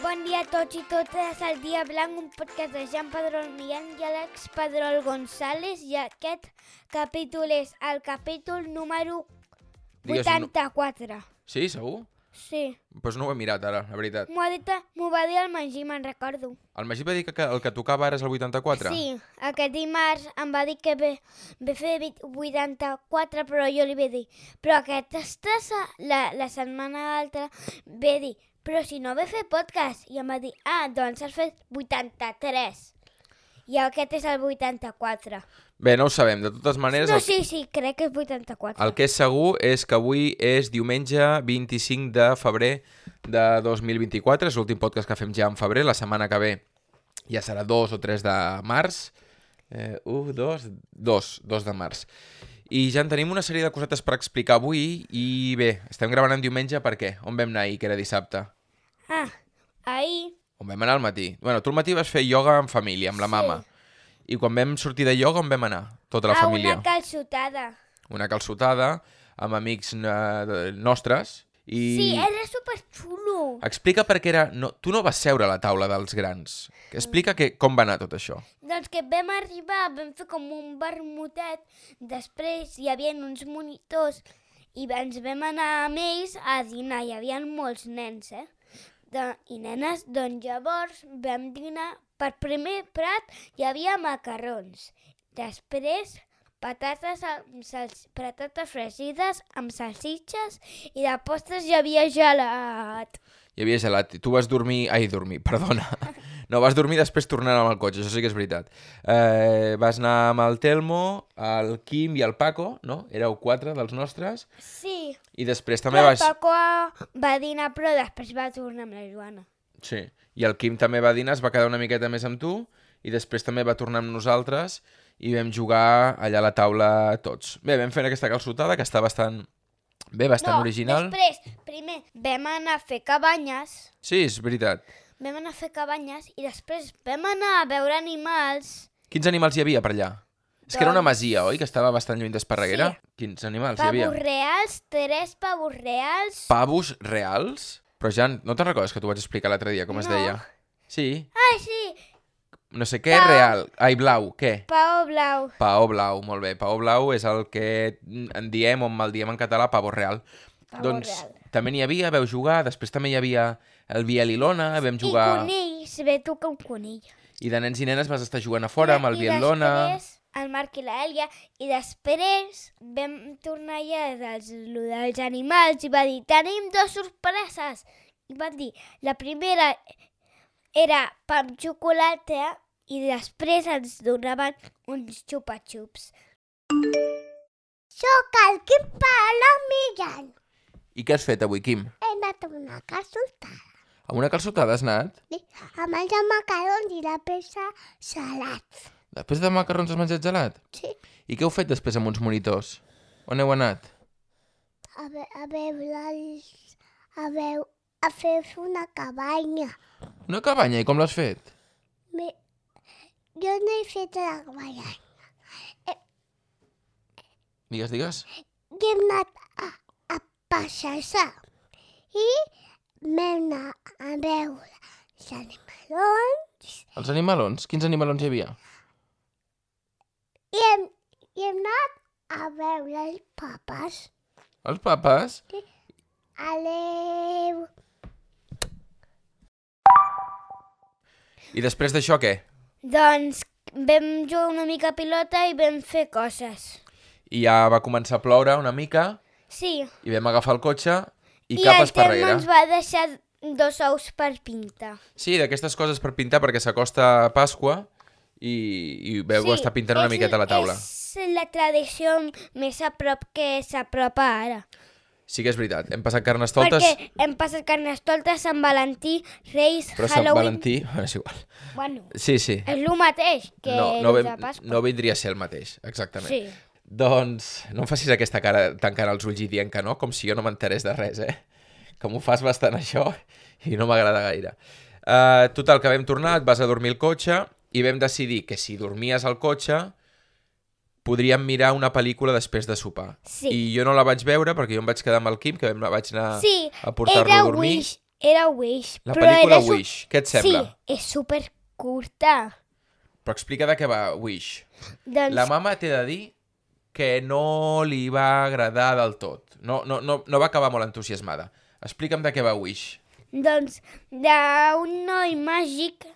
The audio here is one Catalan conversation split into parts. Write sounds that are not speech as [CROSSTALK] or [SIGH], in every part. Bon dia a tots i totes al Dia Blanc, un podcast de Jean Padrón Millán i Àlex Padrol González i aquest capítol és el capítol número Digues un nu- 84. Sí, segur? Sí, Doncs pues no ho he mirat ara, la veritat. m'ho ha dit, m'ho va dir el Magí, me'n recordo. El Magí va dir que el que tocava ara és el 84? Sí, aquest dimarts em va dir que ve, ve fer vit- 84, però jo li vaig dir, però aquesta, se- la, la setmana altra, ve dir, però si no ve fer podcast, i em va dir, ah, doncs has fet 83. I aquest és el 84. Bé, no ho sabem. De totes maneres, no, el, sí, sí, crec que és 84. el que és segur és que avui és diumenge 25 de febrer de 2024. És l'últim podcast que fem ja en febrer. La setmana que ve ja serà 2 o 3 de març. Eh, 1, 2, 2, 2 de març. I ja en tenim una sèrie de cosetes per explicar avui. I bé, estem gravant en diumenge per què? On vam anar ahir, que era dissabte? Ah, ahir, On vam anar al matí? Bueno, tu al matí vas fer ioga en família, amb la Sí. mama. I quan vam sortir de ioga, on vam anar? Tota la a família. Ah, una calçotada. Una calçotada, amb amics eh, de- nostres. I... I... Sí, eh. era superxulo. Explica per què era... No, tu no vas seure a la taula dels grans. Explica que, com va anar tot això. Doncs que vam arribar, vam fer com un vermutet, després hi havia uns monitors i ens vam anar amb ells a dinar. Hi havia molts nens, eh? De, I nenes, doncs llavors vam dinar. Per primer prat hi havia macarrons, després patates, amb salsi, patates fregides amb salsitxes i de postres hi havia gelat. Hi havia gelat. Tu vas dormir... Ai, dormir, [LAUGHS] perdona. No, vas dormir després tornant amb el cotxe, això sí que és veritat. Eh, vas anar amb el Telmo, el Quim i el Paco, no? Éreu quatre dels nostres. Sí, I després també però el vas... Paco va dinar però després va tornar amb la Joana. Sí, i el Quim també va dinar, es va quedar una miqueta més amb tu i després també va tornar amb nosaltres i vam jugar allà a la taula tots. Bé, vam fer aquesta calçotada que està bastant bé, bastant original. després, primer vam anar a fer cabanyes, Sí, és veritat. vam anar a fer cabanyes i després vam anar a veure animals. Quins animals hi havia per allà? És que era una masia, oi? Que estava bastant lluny d'Esparreguera. Sí. Quins animals hi havia? Doncs Pavos reals, tres pavos reals. Pavos reals? Però Jan, no te'n recordes que t'ho vaig explicar l'altre dia, com es No. deia? Sí, Ah, sí, no sé què, real. Ai, blau, què? pavo blau. Paó blau, molt bé. Paó blau és el que en diem o en mal diem en català pavó real. Pavó doncs real. també n'hi havia, veu jugar, després també hi havia el Biel i l'Ona, vam jugar... I conills, ve tu que un conill. I de nens i nenes vas estar jugant a fora amb el I Biel i l'Ona... després el Marc i l'Èlia, i després vam tornar allà dels, lo dels animals i va dir, tenim dues sorpreses. I van dir, la primera era pa amb xocolata i després ens donaven uns xupa-xups. Sóc el Quim Palom Millán. I què has fet avui, Quim? He anat a una calçotada A una calçotada has anat? a menjar macarons i la peça salats. Després de macarrons has menjat gelat? Sí, I què heu fet després amb uns monitors? On heu anat? a, ve a veure els... A, veu a fer una cabanya. Una cabanya, i com l'has fet? Me... Jo no he fet la cabanya. Digues, digues. I hem anat a, a passejar. I m'hem anat a veure els animalons Els animalons? Quins animalons hi havia? i hem, i hem anat a veure els papes. Els papes? Adeu. I després d'això què? Doncs vam jugar una mica a pilota i vam fer coses. I ja va començar a ploure una mica... Sí, i vam agafar el cotxe i, i cap a el Telmo Esparreguera. ens va deixar dos ous per pintar. Sí, d'aquestes coses per pintar perquè s'acosta Pasqua i, i veu sí, estar pintant una és- miqueta a la taula. És... És la tradició més a prop que s'apropa ara. Sí que és veritat, hem passat carnestoltes, Perquè hem passat carnestoltes, Sant Valentí, Reis, però Sant Halloween... Valentí... [LAUGHS] Bueno, és igual. Bueno, Sí, sí. és el mateix que no, no, els vem, de Pasqua. no vindria a ser el mateix, exactament. Sí. Doncs no em facis aquesta cara tancant els ulls i dient que no, com si jo no m'enterés de res, eh? Que m'ho fas bastant això i no m'agrada gaire. Uh, total, que vam tornar, et vas a dormir al cotxe i vam decidir que si dormies al cotxe podríem mirar una pel·lícula després de sopar. Sí. I jo no la vaig veure perquè jo em vaig quedar amb el Quim, que vam, vaig anar sí, a era portar-lo a dormir. Wish, Era Wish. La però pel·lícula era su- Wish, què et sembla? Sí, és super curta. Però explica de què va Wish. Doncs La mama t'he de dir que no li va agradar del tot. No, no, no, no va acabar molt entusiasmada. Explica'm de què va Wish. Doncs d'un noi màgic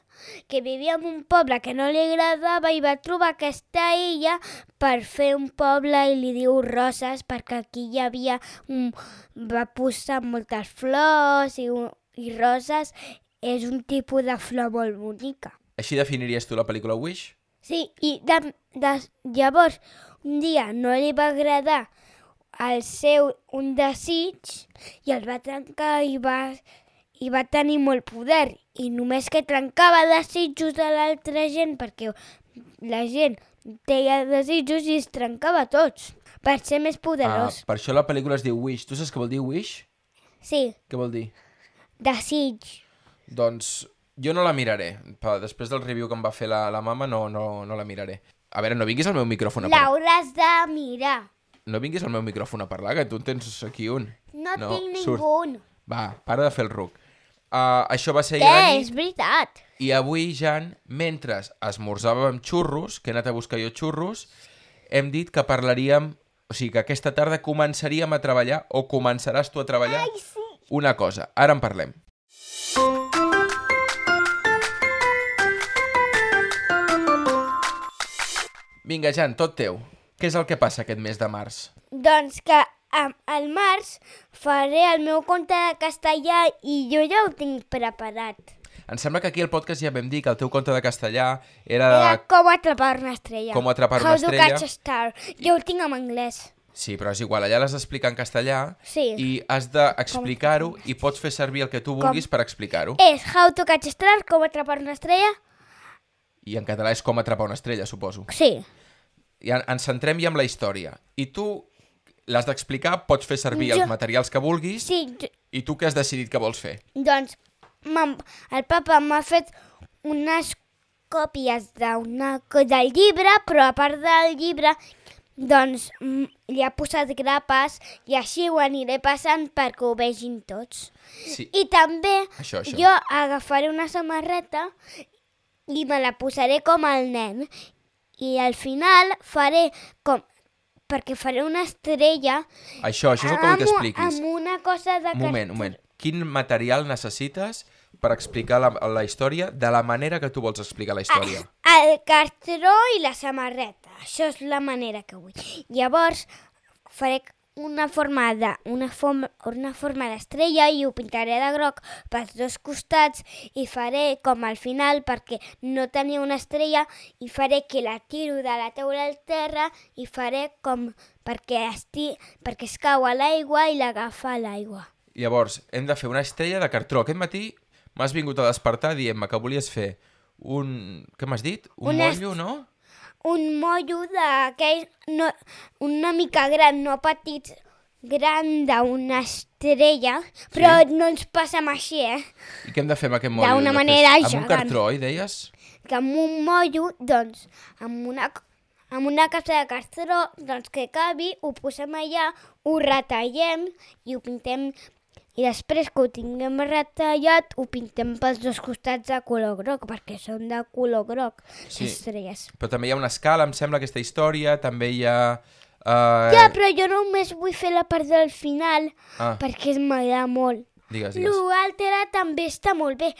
que vivia en un poble que no li agradava i va trobar aquesta illa per fer un poble i li diu roses perquè aquí hi havia un... va posar moltes flors i, un- i roses és un tipus de flor molt bonica. Així definiries tu la pel·lícula Wish? Sí, i de, de, llavors un dia no li va agradar el seu un desig i el va trencar i va, i va tenir molt poder i només que trencava desitjos de l'altra gent perquè la gent deia desitjos i es trencava tots per ser més poderós. Ah. per això la pel·lícula es diu Wish. Tu saps què vol dir Wish? Sí, Què vol dir? desig. Doncs jo no la miraré. Pa- Després del review que em va fer la, la mama no, no, no la miraré. A veure, no vinguis al meu micròfon a parlar. L'hauràs de mirar. No vinguis al meu micròfon a parlar, que tu en tens aquí un. No, no tinc surt. ningú. Va, para de fer el ruc. Uh, això va ser ahir Què? a la nit. Eh, És veritat. I avui, Jan, mentre esmorzàvem amb xurros, que he anat a buscar jo xurros, hem dit que parlaríem... O sigui, que aquesta tarda començaríem a treballar o començaràs tu a treballar Ai, sí. una cosa. Ara en parlem. Vinga, Jan, tot teu. Què és el que passa aquest mes de març? Doncs que am- al març faré el meu conte de castellà i jo ja ho tinc preparat. Em sembla que aquí al podcast ja vam dir que el teu conte de castellà era... Era com atrapar una estrella. Ah, Com atrapar una How estrella. to catch a star. Jo ho tinc en anglès. Sí, però és igual, allà l'has d'explicar en castellà Sí. i has d'explicar-ho i pots fer servir el que tu vulguis per explicar-ho. És How to catch a star, com atrapar una estrella. I en català és com atrapar una estrella, suposo. Sí. I en, ens centrem ja en la història. I tu l'has d'explicar, pots fer servir Jo- els materials que vulguis Sí, jo- i tu què has decidit que vols fer? doncs mam, el papa m'ha fet unes còpies d'una co- del llibre, però a part del llibre doncs mm, li ha posat grapes i així ho aniré passant perquè ho vegin tots. Sí, I també Això, això. jo agafaré una samarreta i me la posaré com el nen. I al final faré com... perquè faré una estrella això, això és el que vull amb, que expliquis. amb una cosa de... Un moment, un moment. Quin material necessites per explicar la, la història de la manera que tu vols explicar la Ah, història? El cartró i la samarreta. Això és la manera que vull. Llavors, faré una forma de, una forma, una forma d'estrella i ho pintaré de groc pels dos costats i faré com al final perquè no tenia una estrella i faré que la tiro de la teula al terra i faré com perquè, esti, perquè es cau a l'aigua i l'agafa a l'aigua. Llavors, hem de fer una estrella de cartró. Aquest matí m'has vingut a despertar dient-me que volies fer un... Què m'has dit? Un Una est- motllo, no? un mollo d'aquell no, una mica gran, no petit, gran d'una estrella, però no ens passem així, eh? I què hem de fer amb aquest motllo? Doncs D'una després? manera doncs. Amb un gegant. cartró, oi, deies? Que amb un mollo, doncs, amb una, c- amb una capsa de castró, doncs que cabi, ho posem allà, ho retallem i ho pintem i després que ho tinguem retallat ho pintem pels dos costats de color groc perquè són de color groc Sí. les estrelles. Però també hi ha una escala, em sembla, aquesta història. També hi ha... Eh... Ja, però jo només vull fer la part del final Ah. perquè m'agrada molt. Digues, digues. L'altre també està molt bé,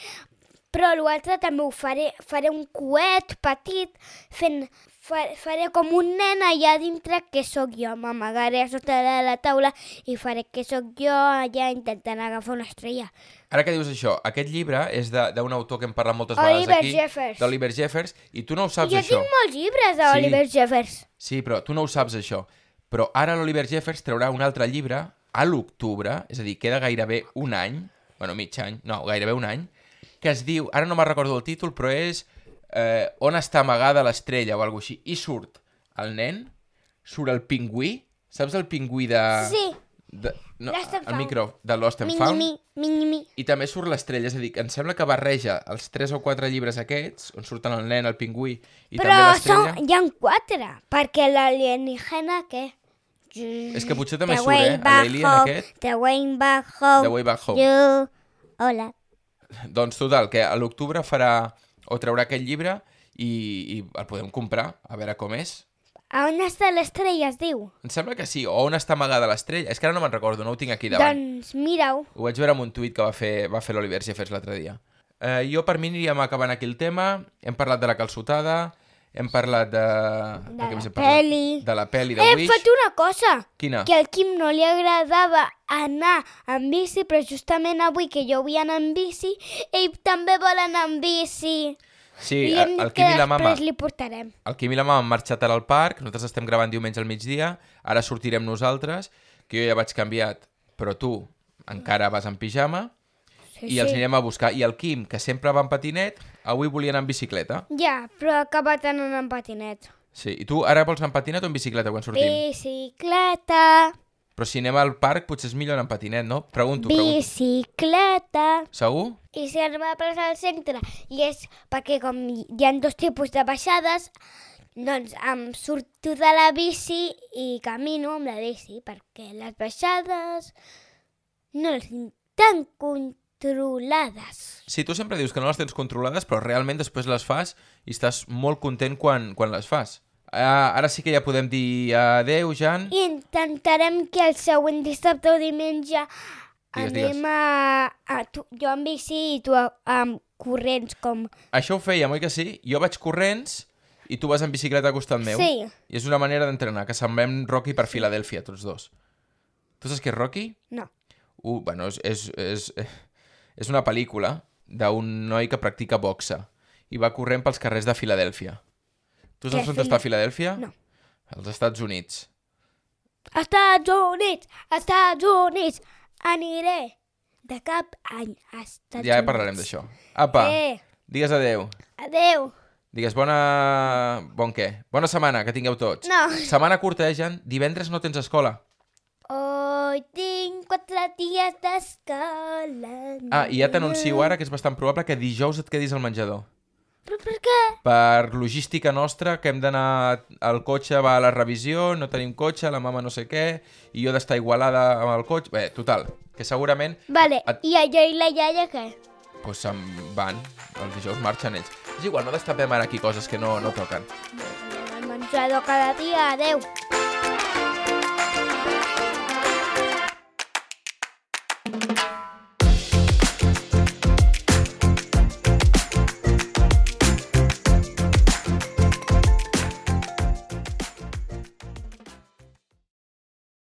però l'altre també ho faré. Faré un coet petit, fent, fa, faré com un nen allà dintre que sóc jo. M'amagaré a sota de la taula i faré que sóc jo allà intentant agafar una estrella. Ara que dius això, aquest llibre és de- d'un autor que hem parlat moltes Oliver vegades aquí. Jeffers. D'Oliver Jeffers. I tu no ho saps, jo això. tinc molts llibres Sí. d'Oliver Jeffers. Sí, però tu no ho saps, això. Però ara l'Oliver Jeffers traurà un altre llibre a l'octubre, és a dir, queda gairebé un any, bueno, mig any, no, gairebé un any, que es diu, ara no me'n recordo el títol, però és eh, On està amagada l'estrella o alguna així. I surt el nen, surt el pingüí, saps el pingüí de... Sí, De, no, Lost and el Found. micro, de Lost and Found. mini-mi, mini-mi. I també surt l'estrella, és a dir, que em sembla que barreja els tres o quatre llibres aquests, on surten el nen, el pingüí i Però també l'estrella. són, hi ha quatre, perquè l'alienígena, què? És que potser també The surt, eh? way back L'alien home, aquest. The way back home. The way back home. You Hola. Doncs total, que a l'octubre farà o traurà aquest llibre i, i el podem comprar, a veure com és. A on està l'estrella, es diu? Em sembla que sí, o on està amagada l'estrella. És que ara no me'n recordo, no ho tinc aquí davant. Doncs mira-ho. Ho vaig veure amb un tuit que va fer, va fer l'Oliver Jeffers l'altre dia. Eh, jo per mi aniríem acabant aquí el tema. Hem parlat de la calçotada, hem parlat de... De de què la més hem parlat? peli. De la peli de He Wish. fet Eh, una cosa. Quina? Que al Quim no li agradava anar en bici, però justament avui que jo vull anar en bici, ell també vol anar en bici. Sí, I el, hem el dit que Quim i la mama. després li portarem. El Quim i la mama han marxat ara al parc, nosaltres estem gravant diumenge al migdia, ara sortirem nosaltres, que jo ja vaig canviat, però tu encara vas en pijama, Eh, Sí, i els anirem a buscar. I el Quim, que sempre va en patinet, avui volia anar en bicicleta. Ja, però ha acabat anant en patinet. Sí, i tu ara vols anar en patinet o en bicicleta quan Eh. sortim? Bicicleta, Però si anem al parc potser és millor anar en patinet, no? Pregunto, pregunto. bicicleta. Segur? I si anem a la plaça del centre, i és perquè com hi hi ha dos tipus de baixades, doncs em surto de la bici i camino amb la bici, perquè les baixades no les tinc tan controlades. Sí, tu sempre dius que no les tens controlades, però realment després les fas i estàs molt content quan, quan les fas. Ah, ara sí que ja podem dir adeu, Jan. I intentarem que el següent dissabte o diumenge Digues, digues. anem a, a tu, jo amb bici i tu a- amb corrents com... Això ho fèiem, oi que sí? Jo vaig corrents i tu vas en bicicleta al costat meu. Sí. I és una manera d'entrenar, que semblem Rocky per Filadèlfia, tots dos. Tu saps què és Rocky? No. Uh, bueno, és, és, és, eh, és una pel·lícula d'un noi que practica boxa i va corrent pels carrers de Filadèlfia. Què, Tu saps on Fila- està Filadèlfia? No. Als Estats Units. Estats Units, Estats Units, aniré de cap any a Estats ja Units. parlarem d'això. Apa, Eh, digues adeu. adeu. Digues bona... Bon què? Bona setmana, que tingueu tots. No. Setmana curta, eh, Jan? Divendres no tens escola. Hoy tinc quatre dies d'escola. Ah, i ja t'anuncio ara que és bastant probable que dijous et quedis al menjador. Però per què? Per logística nostra, que hem d'anar... El cotxe va a la revisió, no tenim cotxe, la mama no sé què, i jo he d'estar igualada amb el cotxe... Bé, total, que segurament Vale, Et- i allò i la iaia què? pues, se'n van, els dijous marxen ells. És igual, no destapem ara aquí coses que no, no toquen. El menjador cada dia, adeu.